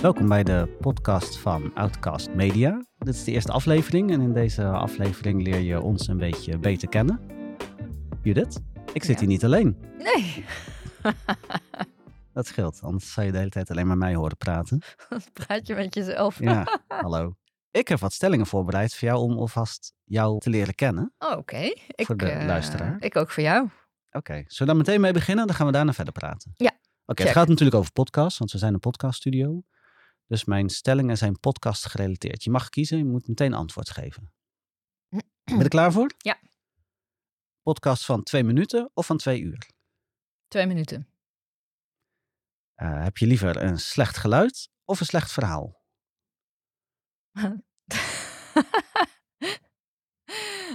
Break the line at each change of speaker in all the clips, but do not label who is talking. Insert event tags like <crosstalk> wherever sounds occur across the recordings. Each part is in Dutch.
Welkom bij de podcast van Outcast Media. Dit is de eerste aflevering en in deze aflevering leer je ons een beetje beter kennen. Judith, ik zit
Ja.
hier niet alleen.
Nee, <laughs>
Dat scheelt, anders zou je de hele tijd alleen maar mij horen praten.
dat praat je met jezelf.
Ja, hallo. Ik heb wat stellingen voorbereid voor jou om alvast jou te leren kennen.
Oh, Oké. Ik,
Voor de
eh,
luisteraar.
Ik ook voor jou.
Oké, zullen we daar meteen mee beginnen? Dan gaan we daarna verder praten.
Ja,
Oké, het
check.
gaat natuurlijk over podcasts, want we zijn een podcaststudio. Dus mijn stellingen zijn podcast gerelateerd. Je mag kiezen, je moet meteen antwoord geven. Ben je er klaar voor?
Ja.
Podcast van twee minuten of van twee uur?
Twee minuten.
Eh, heb je liever een slecht geluid of een slecht verhaal?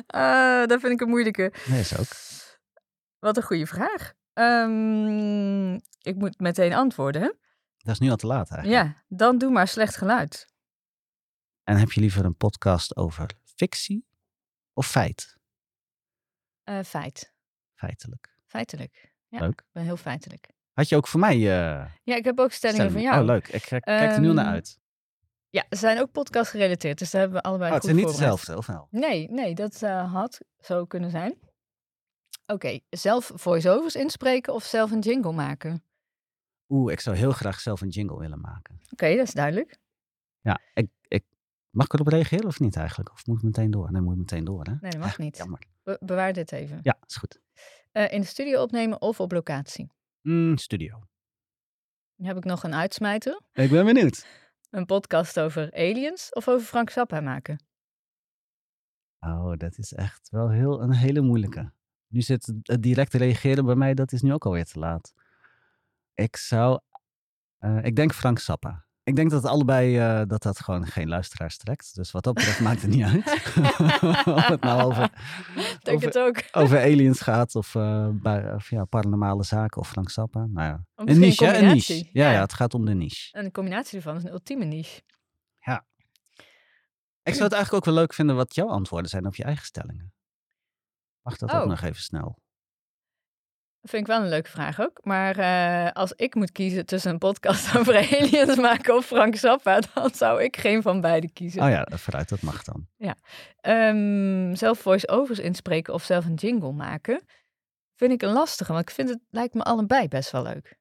Eh, dat vind ik een moeilijke.
Nee, is ook.
Wat een goede vraag. Ehm, ik moet meteen antwoorden, hè?
Dat is nu al te laat eigenlijk.
Ja, dan doe maar slecht geluid.
En heb je liever een podcast over fictie of feit?
Eh, feit.
Feitelijk.
Feitelijk. Ja,
Leuk.
Ik ben heel feitelijk.
Had je ook voor mij eh,
Ja, ik heb ook stellingen
stellingen?
van jou.
Oh, leuk. Ik eh, kijk er nu al naar
Ehm,
uit.
Ja, ze zijn ook podcast gerelateerd, dus daar hebben we allebei
Oh, het
goed
zijn niet
voorbereid.
hetzelfde, of wel?
Nee, nee, dat eh, had zo kunnen zijn. Oké, zelf voice-overs inspreken of zelf een jingle maken? Oké,
Oeh, ik zou heel graag zelf een jingle willen maken.
dat is duidelijk.
Ja, ik, ik, mag ik erop reageren of niet eigenlijk? Of moet ik meteen door? Nee, moet ik meteen door, hè?
Nee,
<laughs>
dat mag niet.
Jammer.
Be- bewaar dit even.
Ja, is goed.
Eh, in de studio opnemen of op locatie?
Mm, studio.
Dan heb ik nog een uitsmijter.
Ik ben benieuwd.
Een podcast over aliens of over Frank Zappa maken?
Oh, dat is echt wel heel, een hele moeilijke. Nu zit het- het direct reageren bij mij, dat is nu ook alweer te laat. Ik zou... eh, ik denk Frank Sappa. Ik denk dat allebei eh, dat dat gewoon geen luisteraars trekt. Dus wat dat betreft maakt het niet
<laughs>
uit. <laughs> Of het nou over,
Ik denk
over
het ook. <laughs>
over aliens gaat of, eh, bij, of ja, paranormale zaken of Frank Zappa. Nou ja.
misschien
hè?
een
Een
combinatie.
niche. Ja,
Ja.
ja, het gaat om de niche.
En de combinatie ervan is een ultieme niche.
Ik zou het eigenlijk ook wel leuk vinden wat jouw antwoorden zijn op je eigen stellingen. Mag dat ook
Oh.
nog even snel?
Dat vind ik wel een leuke vraag ook. Maar eh, als ik moet kiezen tussen een podcast <laughs> over aliens maken of Frank Zappa, <laughs> dan zou ik geen van beide kiezen.
Oh ja, vooruit, dat mag dan.
Ehm, zelf voice-overs inspreken of zelf een jingle maken, vind ik een lastige. Want ik vind het lijkt me allebei best wel leuk.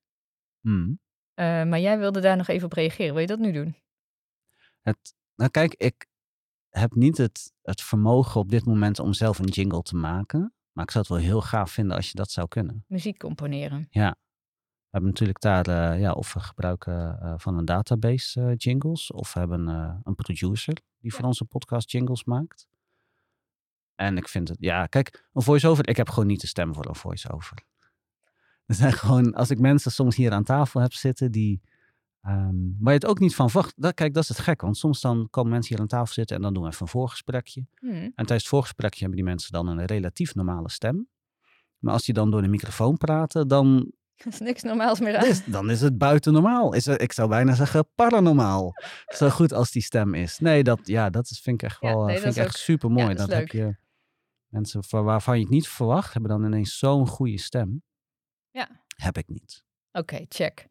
Hmm.
Eh, maar jij wilde daar nog even op reageren. Wil je dat nu doen?
Het, nou kijk, ik heb niet het, het vermogen op dit moment om zelf een jingle te maken. Maar ik zou het wel heel gaaf vinden als je dat zou kunnen.
Muziek componeren.
We hebben natuurlijk daar, eh, ja, of we gebruiken eh, van een database eh, jingles, of we hebben eh, een producer die voor onze podcast jingles maakt. En ik vind het, ja, kijk, een voice-over, ik heb gewoon niet de stem voor een voice-over. Er zijn gewoon, als ik mensen soms hier aan tafel heb zitten die, ehm, waar je het ook niet van verwacht. Dat, kijk, dat is het gek, want soms dan komen mensen hier aan tafel zitten en dan doen we even een voorgesprekje.
<laughs> Hm.
En tijdens het voorgesprekje hebben die mensen dan een relatief normale stem. Maar als die dan door de microfoon praten, dan
Er is niks normaals meer aan.
<laughs> dus dan is het buiten normaal. Is er, ik zou bijna zeggen paranormaal. Zo goed als die stem is. Nee, dat, ja, dat is, vind ik echt
Ja,
wel eh,
nee, dat
vind ik
is
echt super mooi.
ja, dat is
dat heb je mensen van, waarvan je het niet verwacht, hebben dan ineens zo'n goede stem.
Ja.
Heb ik niet.
Oké, check.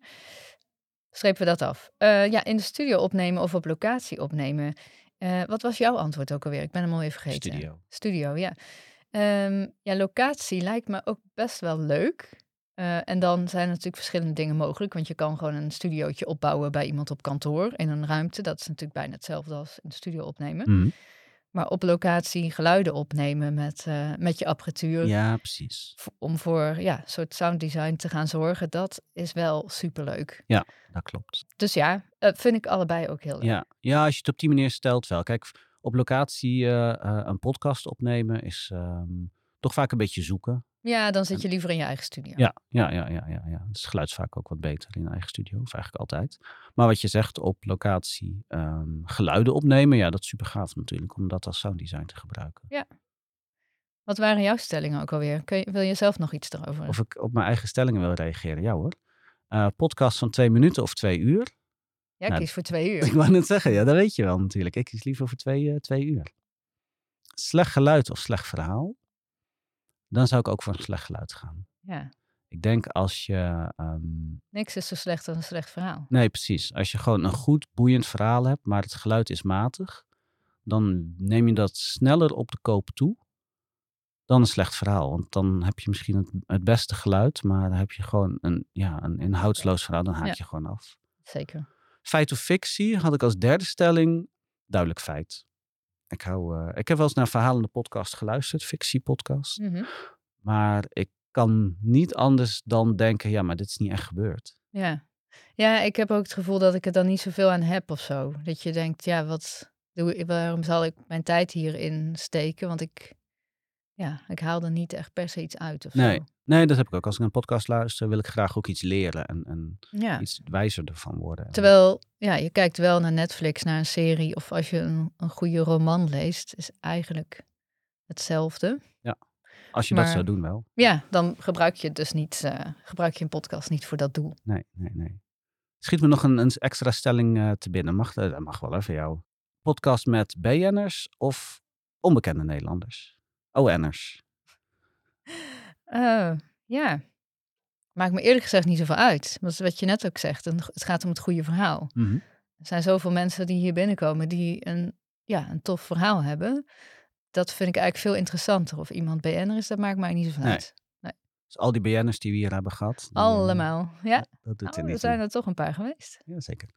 Strepen we dat af. Eh, ja, in de studio opnemen of op locatie opnemen. Eh, wat was jouw antwoord ook alweer? Ik ben hem alweer vergeten.
Studio.
Studio, ja. Ehm, ja, locatie lijkt me ook best wel leuk. Eh, en dan zijn er natuurlijk verschillende dingen mogelijk. Want je kan gewoon een studiootje opbouwen bij iemand op kantoor in een ruimte. Dat is natuurlijk bijna hetzelfde als in de studio opnemen.
Mhm.
Maar op locatie geluiden opnemen met, eh, met je apparatuur.
Ja, precies.
v- Om voor ja, een soort sound design te gaan zorgen. Dat is wel superleuk.
Dat klopt.
Dus ja, eh, vind ik allebei ook heel leuk.
Ja. ja, als je het op die manier stelt wel. Kijk, op locatie eh, eh, een podcast opnemen is ehm, toch vaak een beetje zoeken.
Ja, dan zit je liever in je eigen studio.
Ja, ja, ja, ja, ja, ja. Het is geluid vaak ook wat beter in eigen studio, of eigenlijk altijd. Maar wat je zegt op locatie ehm, geluiden opnemen, ja, dat is super gaaf natuurlijk, om dat als sounddesign te gebruiken.
Wat waren jouw stellingen ook alweer? Kun je, wil je zelf nog iets erover?
Of ik op mijn eigen stellingen wil reageren, ja hoor. Eh, podcast van twee minuten of twee uur.
Jij
nou,
kiest voor twee uur.
<laughs> Ik wou net zeggen, ja, dat weet je wel natuurlijk. Ik kies liever voor twee, eh, twee uur. Slecht geluid of slecht verhaal? Dan zou ik ook voor een slecht geluid gaan.
Ja.
Ik denk als je. ehm,
Niks is zo slecht dan een slecht verhaal.
nee, precies. Als je gewoon een goed, boeiend verhaal hebt, maar het geluid is matig, dan neem je dat sneller op de koop toe dan een slecht verhaal. Want dan heb je misschien het, het beste geluid, maar dan heb je gewoon een, ja, een inhoudsloos verhaal, dan haak
Ja.
je gewoon af.
Zeker.
Feit of fictie had ik als derde stelling duidelijk feit. Ik, hou, eh, ik heb wel eens naar verhalende podcast geluisterd, fictiepodcast.
Mhm.
Maar ik kan niet anders dan denken, ja, maar dit is niet echt gebeurd.
Ja. ja, ik heb ook het gevoel dat ik er dan niet zoveel aan heb of zo. Dat je denkt, ja, wat doe, waarom zal ik mijn tijd hierin steken? Want ik, ja, ik haal er niet echt per se iets uit of
Nee.
zo.
Nee, dat heb ik ook. Als ik een podcast luister, wil ik graag ook iets leren en, en
Ja.
iets wijzer ervan worden.
Terwijl, ja, je kijkt wel naar Netflix, naar een serie. Of als je een, een goede roman leest, is eigenlijk hetzelfde.
Als je dat
maar-
zou doen wel.
Ja, dan gebruik je het dus niet, eh, gebruik je een podcast niet voor dat doel.
Nee, nee, nee. Schiet me nog een, een extra stelling eh, te binnen. Mag, dat dat mag wel hè, van jou. Podcast met BN'ers of onbekende Nederlanders? ON'ers.
Eh, ja. Maakt me eerlijk gezegd niet zoveel uit. Want wat je net ook zegt, een- het gaat om het goede verhaal.
Mhm.
Er zijn zoveel mensen die hier binnenkomen die een, ja, een tof verhaal hebben. Dat vind ik eigenlijk veel interessanter. Of iemand BN'er is, dat maakt mij niet zoveel
Nee.
uit.
Dus al die BN'ers die we hier hebben gehad. die, eh,
Allemaal. Ja,
Dat doet
Oh,
er
er
niet
zijn
toe.
er toch een paar geweest.
Ja, zeker.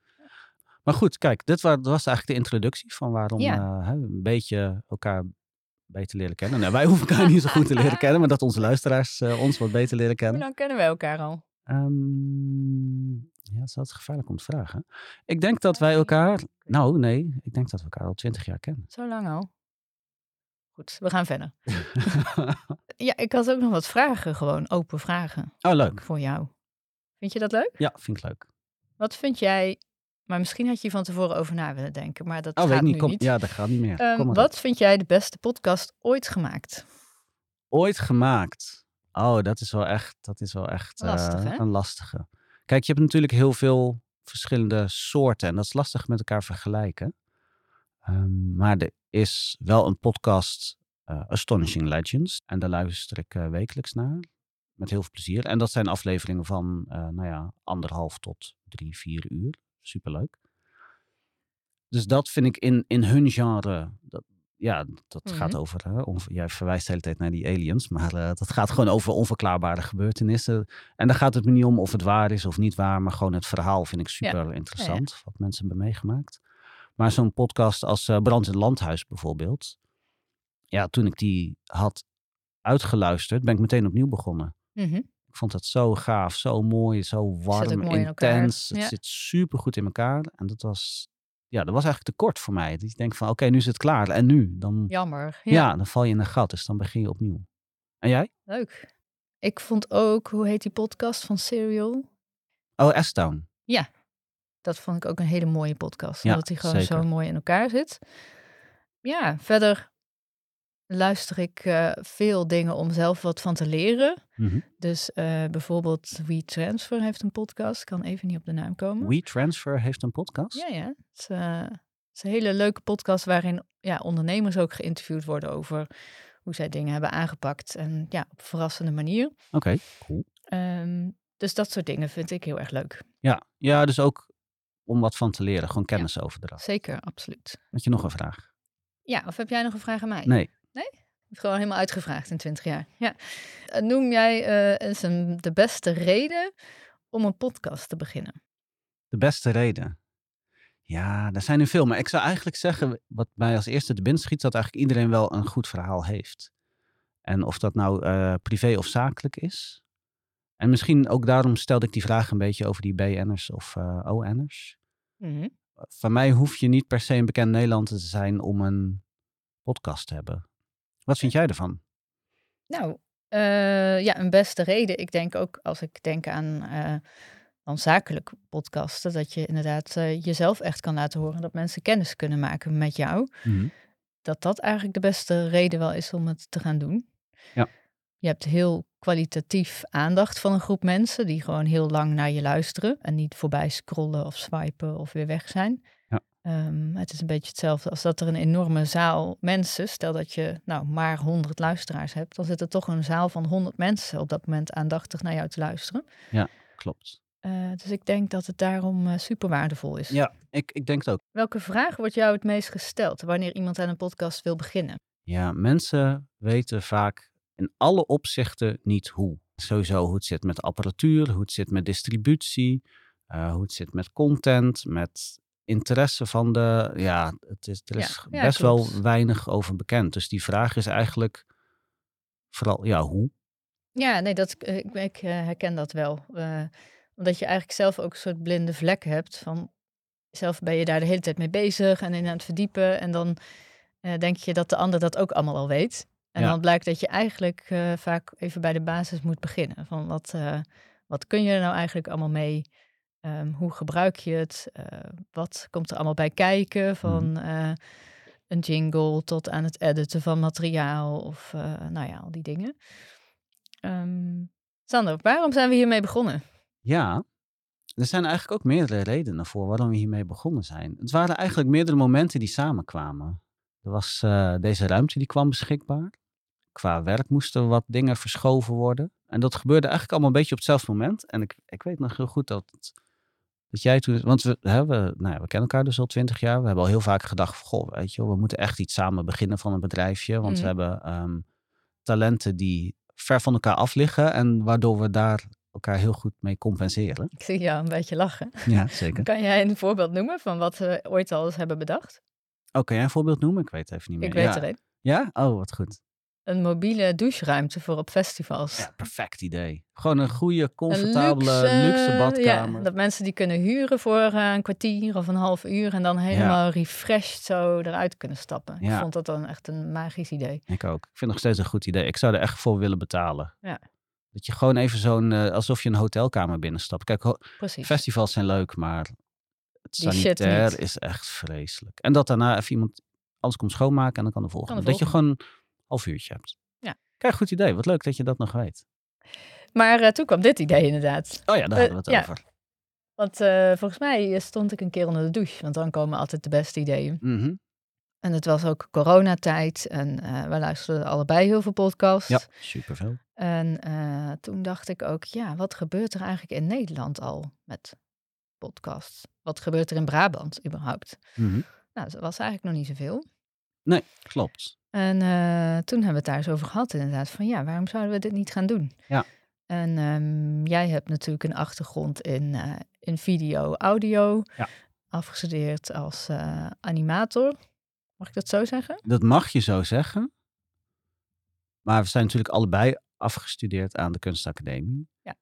Maar goed, kijk, dit wa- dat was eigenlijk de introductie van waarom
Ja.
eh, hè, een beetje elkaar beter leren kennen. Nou, wij hoeven elkaar niet zo goed te leren kennen, maar dat onze luisteraars eh, ons wat beter leren
Hoe
kennen.
lang kennen wij elkaar al?
Ehm, ja, dat is gevaarlijk om te vragen. Ik denk dat wij elkaar, nou nee, ik denk dat we elkaar al twintig jaar kennen.
Zo lang al. Goed, we gaan
<laughs>
verder. Ja, ik had ook nog wat vragen, gewoon open vragen
oh, leuk.
voor jou. Vind je dat leuk?
Ja, vind ik leuk. Oh,
Wat vind jij, maar misschien had je hier van tevoren over na willen denken, maar dat
Oh,
gaat
weet niet.
nu
Kom,
niet.
Ja, dat gaat niet meer.
Ehm,
Kom maar op.
wat vind jij de beste podcast ooit gemaakt?
ooit gemaakt? Oh, dat is wel echt, dat is wel echt eh,
Lastig, hè?
een lastige. Kijk, je hebt natuurlijk heel veel verschillende soorten en dat is lastig met elkaar vergelijken. Ehm, maar er is wel een podcast, eh, Astonishing Legends, en daar luister ik eh, wekelijks naar. Met heel veel plezier. En dat zijn afleveringen van, eh, nou ja, anderhalf tot drie, vier uur. Superleuk. Dus dat vind ik in, in hun genre, dat, ja, dat
Mhm.
gaat over, hè, onver- jij verwijst de hele tijd naar die aliens, maar eh, dat gaat gewoon over onverklaarbare gebeurtenissen. En daar gaat het me niet om of het waar is of niet waar, maar gewoon het verhaal vind ik super interessant, wat mensen hebben meegemaakt. Maar zo'n podcast als eh, Brand in het Landhuis bijvoorbeeld, ja, toen ik die had uitgeluisterd, ben ik meteen opnieuw begonnen.
Mhm.
Ik vond dat zo gaaf, zo mooi, zo warm,
mooi in elkaar,
intens. Het
ja.
zit super goed in elkaar. En dat was, ja, dat was eigenlijk te kort voor mij. Dat je denkt van, oké, nu is het klaar. En nu? Dan, ja.
Jammer.
dan val je in een gat. Dus dan begin je opnieuw. En jij?
Leuk. Ik vond ook, hoe heet die podcast van Serial?
Oh, S-Town.
Dat vond ik ook een hele mooie podcast.
Ja,
omdat die gewoon
zeker.
zo mooi in elkaar zit. Ja, verder luister ik eh, veel dingen om zelf wat van te leren.
Mhm.
Dus eh, bijvoorbeeld WeTransfer heeft een podcast. Ik kan even niet op de naam komen.
WeTransfer heeft een podcast?
Ja, ja. Het is, eh, het is een hele leuke podcast waarin ja, ondernemers ook geïnterviewd worden over hoe zij dingen hebben aangepakt. En ja, op verrassende manier.
Oké, cool.
Ehm, dus dat soort dingen vind ik heel erg leuk.
Ja. ja, dus ook om wat van te leren. Gewoon kennis overdragen.
Zeker, absoluut.
Had je nog een vraag?
Ja, of heb jij nog een vraag aan mij?
Nee.
Ik heb Gewoon helemaal uitgevraagd in 20 jaar. Ja. Eh, Noem jij eh, eens een, de beste reden om een podcast te beginnen?
De beste reden. Ja, er zijn er veel. Maar ik zou eigenlijk zeggen, wat mij als eerste te binnen schiet, dat eigenlijk iedereen wel een goed verhaal heeft. En of dat nou eh, privé of zakelijk is. En misschien ook daarom stelde ik die vraag een beetje over die BN'ers of eh ON'ers. Van mij hoef je niet per se een bekend Nederlander te zijn om een podcast te hebben. Wat vind jij ervan?
Nou, eh, ja, een beste reden. Ik denk ook als ik denk aan eh dan zakelijk podcasten, dat je inderdaad eh, jezelf echt kan laten horen. Dat mensen kennis kunnen maken met jou. dat dat eigenlijk de beste reden wel is om het te gaan doen.
Ja.
Je hebt heel kwalitatief aandacht van een groep mensen die gewoon heel lang naar je luisteren en niet voorbij scrollen of swipen of weer weg zijn.
Ja.
Ehm, het is een beetje hetzelfde als dat er een enorme zaal mensen, stel dat je nou maar 100 luisteraars hebt, dan zit er toch een zaal van 100 mensen op dat moment aandachtig naar jou te luisteren.
Klopt.
Eh, dus ik denk dat het daarom eh, super waardevol is.
Ja, ik, ik denk het ook.
Welke vraag wordt jou het meest gesteld wanneer iemand aan een podcast wil beginnen?
Ja, mensen weten vaak in alle opzichten niet hoe. Sowieso hoe het zit met apparatuur, hoe het zit met distributie, eh, hoe het zit met content, met interesse van de. Ja, het is, er
Ja,
is
ja,
best
klopt.
wel weinig over bekend. Dus die vraag is eigenlijk vooral, ja, hoe?
Ja, nee, dat, eh, ik, ik eh, herken dat wel. Eh, omdat je eigenlijk zelf ook een soort blinde vlek hebt. Van, zelf ben je daar de hele tijd mee bezig en in aan het verdiepen. En dan eh, denk je dat de ander dat ook allemaal al weet. En
Ja.
dan blijkt dat je eigenlijk eh, vaak even bij de basis moet beginnen. Van wat, eh, wat kun je er nou eigenlijk allemaal mee? Ehm, hoe gebruik je het? Eh, wat komt er allemaal bij kijken? Van eh, een jingle tot aan het editen van materiaal. Of eh, nou ja, al die dingen. Ehm, Sander, waarom zijn we hiermee begonnen?
Ja, er zijn eigenlijk ook meerdere redenen voor waarom we hiermee begonnen zijn. Het waren eigenlijk meerdere momenten die samenkwamen. Er was eh, deze ruimte die kwam beschikbaar. Qua werk moesten wat dingen verschoven worden. En dat gebeurde eigenlijk allemaal een beetje op hetzelfde moment. En ik, ik weet nog heel goed dat, dat jij toen... Want we, hè, we, nou ja, we kennen elkaar dus al twintig jaar. We hebben al heel vaak gedacht, van, goh, weet je wel, we moeten echt iets samen beginnen van een bedrijfje. Want
Mhm.
we hebben ehm, talenten die ver van elkaar af liggen. En waardoor we daar elkaar heel goed mee compenseren.
Ik zie jou een beetje
<laughs>
lachen. <laughs>
Ja, zeker.
Kan jij een voorbeeld noemen van wat we ooit al eens hebben bedacht?
Oh, kan jij een voorbeeld noemen? Ik weet het even niet meer.
Ik weet
ja.
er een.
Ja? Oh, wat goed.
Een mobiele doucheruimte voor op festivals. <laughs>
Ja, perfect idee. Gewoon een goede,
Een
comfortabele, luxe, badkamer.
Ja, dat mensen die kunnen huren voor eh, een kwartier of een half uur en dan helemaal refreshed zo eruit kunnen stappen. Ik
Ja.
vond dat dan echt een magisch idee.
Ik ook. Ik vind het nog steeds een goed idee. Ik zou er echt voor willen betalen.
Ja.
Dat je gewoon even zo'n, eh, alsof je een hotelkamer binnenstapt. Kijk, ho-
Precies.
festivals zijn leuk, maar het
Die shit niet.
sanitair is echt vreselijk. En dat daarna even iemand anders komt schoonmaken en dan kan de volgende.
de
Dat je gewoon een half uurtje hebt.
Ja.
Kijk, goed idee. Wat leuk dat je dat nog weet.
Maar eh, toen kwam dit idee inderdaad.
Oh ja, daar
Eh,
hadden we het
ja.
over.
Want eh, volgens mij eh, stond ik een keer onder de douche, want dan komen altijd de beste ideeën.
Mhm.
En het was ook coronatijd en eh we luisterden allebei heel veel podcasts.
Ja, superveel.
En eh, toen dacht ik ook, ja, wat gebeurt er eigenlijk in Nederland al met podcasts? Wat gebeurt er in Brabant überhaupt?
Mhm.
Nou, dat was eigenlijk nog niet zoveel.
Klopt.
En eh, toen hebben we het daar eens over gehad inderdaad, van ja, waarom zouden we dit niet gaan doen?
Ja.
En ehm, jij hebt natuurlijk een achtergrond in, eh, in video, audio.
Ja.
Afgestudeerd als eh, animator, mag ik dat zo zeggen?
Dat mag je zo zeggen. Maar we zijn natuurlijk allebei afgestudeerd aan de kunstacademie.
Ja.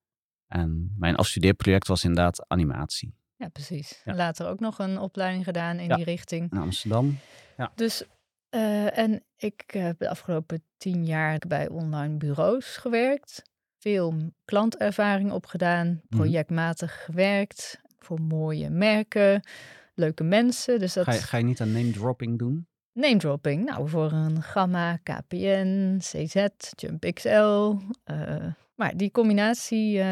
En mijn afstudeerproject was inderdaad animatie
Ja, precies.
Ja.
Later ook nog een opleiding gedaan in
Ja.
die richting.
in Amsterdam.
Dus, eh, en ik heb de afgelopen tien jaar bij online bureaus gewerkt. Veel klantervaring
Mhm.
opgedaan, projectmatig gewerkt voor mooie merken, leuke mensen. Dus dat
Ga je, ga je niet aan name dropping doen?
name dropping. Nou, voor een Gamma, KPN, CZ, Jump XL. eh, maar die combinatie eh,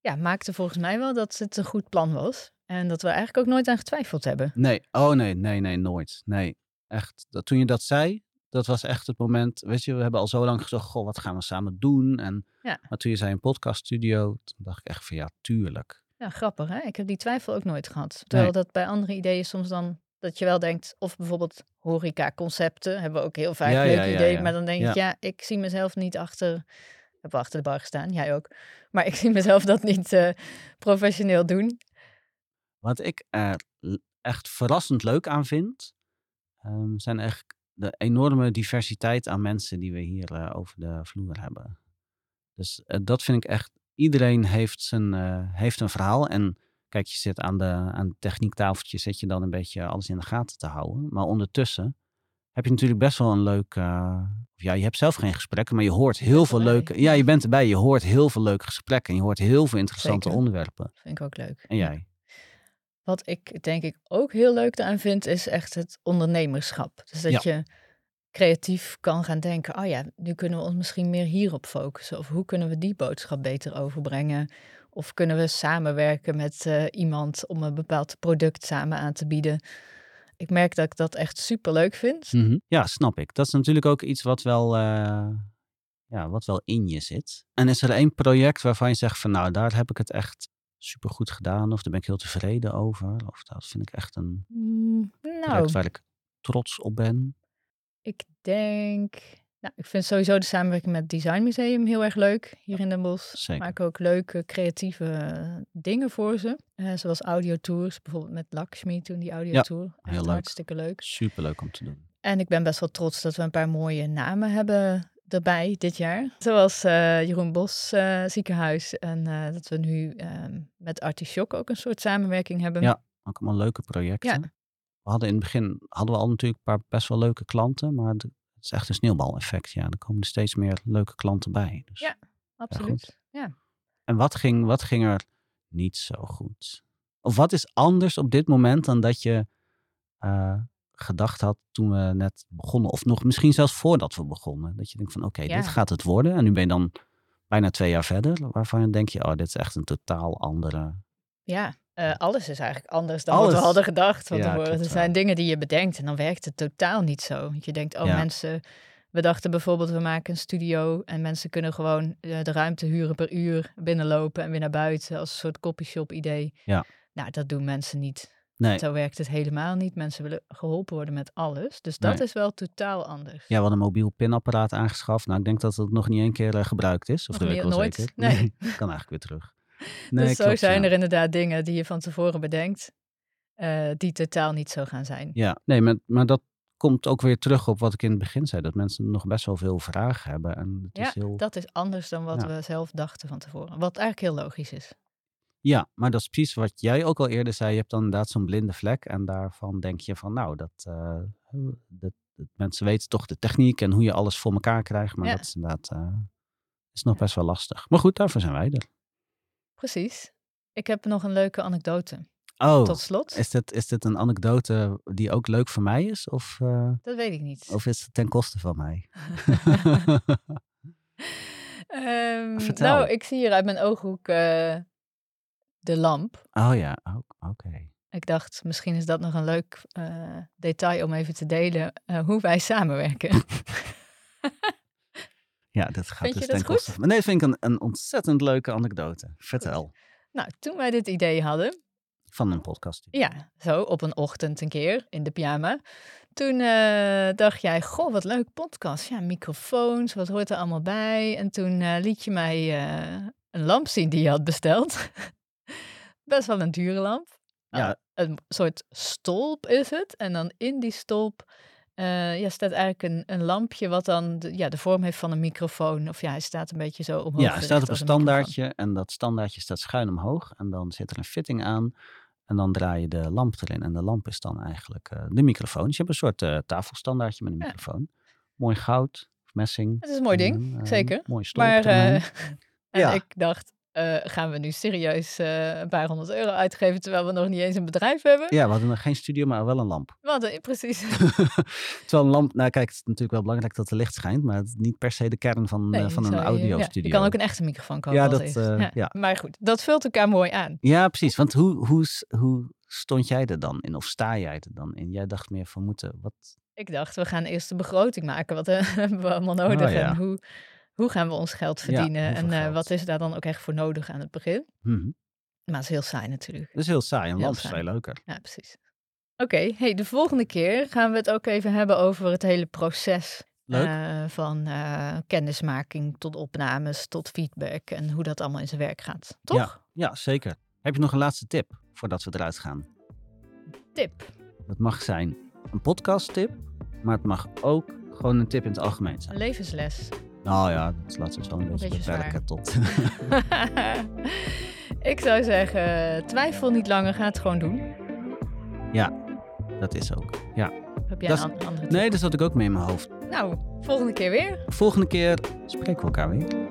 ja, maakte volgens mij wel dat het een goed plan was. En dat we eigenlijk ook nooit aan getwijfeld hebben.
Nee, oh nee, nee, nee, nooit. Nee, echt. Dat, toen je dat zei, dat was echt het moment. Weet je, we hebben al zo lang gezegd, goh, wat gaan we samen doen? En,
Ja.
Maar toen je zei een podcaststudio, toen dacht ik echt van ja, tuurlijk.
Ja, grappig hè? Ik heb die twijfel ook nooit gehad. Terwijl dat bij andere ideeën soms dan dat je wel denkt, of bijvoorbeeld horeca-concepten hebben we ook heel vaak
Ja,
leuke
ja, ja,
ideeën,
ja.
maar dan denk ik, ja, ik zie mezelf niet achter, heb wel achter de bar gestaan, jij ook, maar ik zie mezelf dat niet eh, professioneel doen.
Wat ik er l- echt verrassend leuk aan vind, ehm, zijn echt de enorme diversiteit aan mensen die we hier eh, over de vloer hebben. Dus eh, dat vind ik echt, iedereen heeft, zijn, eh, heeft een verhaal. En kijk, je zit aan de, aan de techniektafeltje, zit je dan een beetje alles in de gaten te houden. Maar ondertussen heb je natuurlijk best wel een leuk, eh, of ja, je hebt zelf geen gesprekken, maar je hoort heel veel
erbij.
leuke, ja, je bent erbij, je hoort heel veel leuke gesprekken. En je hoort heel veel interessante
Zeker.
onderwerpen.
Vind ik ook leuk.
En jij?
Wat ik denk ik ook heel leuk aan vind, is echt het ondernemerschap. Dus dat
Ja.
je creatief kan gaan denken, oh ja, nu kunnen we ons misschien meer hierop focussen. Of hoe kunnen we die boodschap beter overbrengen? Of kunnen we samenwerken met eh, iemand om een bepaald product samen aan te bieden? Ik merk dat ik dat echt super leuk vind.
Mhm. Ja, snap ik. Dat is natuurlijk ook iets wat wel, eh, ja, wat wel in je zit. En is er één project waarvan je zegt van nou, daar heb ik het echt supergoed gedaan. Of daar ben ik heel tevreden over. Of dat vind ik echt een
Mm, nou,
project waar ik trots op ben.
ik denk. Nou, ik vind sowieso de samenwerking met het Design Museum heel erg leuk hier in Den Bosch.
Zeker.
Maken ook leuke creatieve eh, dingen voor ze. Eh, zoals audiotours, bijvoorbeeld met Lakshmi toen die audiotour. Echt
heel leuk.
Hartstikke leuk.
Superleuk om te doen.
En ik ben best wel trots dat we een paar mooie namen hebben erbij dit jaar. Zoals eh, Jeroen Bos eh, ziekenhuis. En eh, dat we nu ehm, met Artichok ook een soort samenwerking hebben.
Ja. Ook allemaal leuke projecten. We hadden in het begin hadden we al natuurlijk een paar best wel leuke klanten. Maar het het is echt een sneeuwbaleffect. Ja, er komen er steeds meer leuke klanten bij. Dus.
Ja. absoluut. Ja.
En wat ging, wat ging er niet zo goed? Of wat is anders op dit moment dan dat je eh, gedacht had toen we net begonnen? Of nog misschien zelfs voordat we begonnen. Dat je denkt van oké,
Ja.
dit gaat het worden. En nu ben je dan bijna twee jaar verder. Waarvan je denk je, oh, dit is echt een totaal andere...
Ja, eh, alles is eigenlijk anders dan wat
Alles.
we hadden gedacht. Want
Ja,
er worden-
klopt
er zijn
wel.
dingen die je bedenkt en dan werkt het totaal niet zo. Want je denkt, oh
Ja.
mensen, we dachten bijvoorbeeld we maken een studio en mensen kunnen gewoon eh, de ruimte huren per uur, binnenlopen en weer naar buiten als een soort copyshop idee.
Ja.
Nou, dat doen mensen niet.
Nee,
Zo werkt het helemaal niet. Mensen willen geholpen worden met alles. Dus dat
Nee.
is wel totaal anders.
ja, we hadden een mobiel pinapparaat aangeschaft. Nou, ik denk dat dat nog niet één keer eh, gebruikt is. Of
Nog
dat
niet-
weet ik wel
nooit.
zeker.
Nee.
kan eigenlijk weer terug.
dus zo
klopt,
zijn
ja.
er inderdaad dingen die je van tevoren bedenkt, eh, die totaal niet zo gaan zijn.
Ja, nee, maar, maar dat komt ook weer terug op wat ik in het begin zei. Dat mensen nog best wel veel vragen hebben. En het
Ja,
is heel...
Dat is anders dan wat
Ja.
we zelf dachten van tevoren. Wat eigenlijk heel logisch is.
ja, maar dat is precies wat jij ook al eerder zei. Je hebt dan inderdaad zo'n blinde vlek. En daarvan denk je van, nou, dat, eh, dat, dat mensen weten toch de techniek en hoe je alles voor elkaar krijgt. Maar
Ja.
dat is inderdaad eh, is nog best wel lastig. Maar goed, daarvoor zijn wij er.
Precies. Ik heb nog een leuke anekdote.
Oh,
Tot slot.
is, dit, is dit een anekdote die ook leuk voor mij is? Of, eh,
Dat weet ik niet.
of is het ten koste van
<laughs>
mij? <laughs>
Ehm,
Vertel.
nou, ik zie hier uit mijn ooghoek eh, de lamp.
oh ja, ook- oké.
Ik dacht, misschien is dat nog een leuk eh, detail om even te delen. eh, hoe wij <laughs> samenwerken.
Ja, dat gaat
Vind je
dus
dat
ten
goed?
koste van. Nee, vind ik een, een ontzettend leuke anekdote. Vertel.
nou, toen wij dit idee hadden,
Van een podcast.
Ja, zo op een ochtend een keer in de pyjama. Toen eh, dacht jij, goh, wat leuk podcast. Ja, microfoons, wat hoort er allemaal bij? En toen eh, liet je mij eh, een lamp zien die je had besteld. <laughs> Best wel een dure lamp.
Ja.
Ah, een soort stolp is het. En dan in die stolp eh, ja, staat eigenlijk een, een lampje wat dan de, ja, de vorm heeft van een microfoon. Of ja, hij staat een beetje zo omhoog.
Ja, hij
gericht
staat op een
als microfoon.
standaardje en dat standaardje staat schuin omhoog. En dan zit er een fitting aan en dan draai je de lamp erin. En de lamp is dan eigenlijk eh, de microfoon. Dus je hebt een soort eh, tafelstandaardje met een
Ja.
microfoon. Mooi goud, of messing.
Het is een mooi ding.
En, eh,
zeker.
Mooi stolp
Maar eh,
eromheen.
en
Ja.
ik dacht, eh, gaan we nu serieus eh, een paar honderd euro uitgeven terwijl we nog niet eens een bedrijf hebben?
Ja, we hadden nog geen studio, maar wel een lamp. <laughs>
Want eh, precies,
Terwijl een lamp, nou kijk, het is natuurlijk wel belangrijk dat er licht schijnt, maar het is niet per se de kern van, eh,
<laughs> nee,
van
zou
een
je-
audio-studio.
Ja, je kan ook een echte microfoon kopen.
Ja,
als
dat,
eerst.
eh, ja.
Maar goed, dat vult elkaar mooi aan.
Ja, precies. Want hoe, hoe, s- hoe stond jij er dan in? Of sta jij er dan in? Jij dacht meer van moeten. Wat?
Ik dacht, we gaan eerst de begroting maken. Wat eh, <laughs> hebben we allemaal nodig?
Oh, ja.
En hoe, hoe gaan we ons geld verdienen? en
hoeveel
eh,
geld?
wat is daar dan ook echt voor nodig aan het begin?
Hm,
Maar het is heel saai natuurlijk.
dat is heel saai. Een
Heel
lamp is
saai.
veel leuker.
Ja, precies. Oké, hey, de volgende keer gaan we het ook even hebben over het hele proces
Leuk.
eh, van eh, kennismaking tot opnames, tot feedback en hoe dat allemaal in zijn werk gaat. Toch?
ja, zeker. Heb je nog een laatste tip voordat we eruit gaan?
Tip.
Dat mag zijn een podcasttip, maar het mag ook gewoon een tip in het algemeen
Een
zijn.
levensles. <laughs>
Nou ja, dat laten we het wel een beetje,
beetje zwaar.
beperken tot. <laughs>
Ik zou zeggen, twijfel niet langer, ga het gewoon doen.
dat is ook. Ja.
Heb jij
Dat
een an- andere tip?
Nee, dat zat ik ook mee in mijn hoofd.
Nou, volgende keer weer.
Volgende keer spreken we elkaar weer.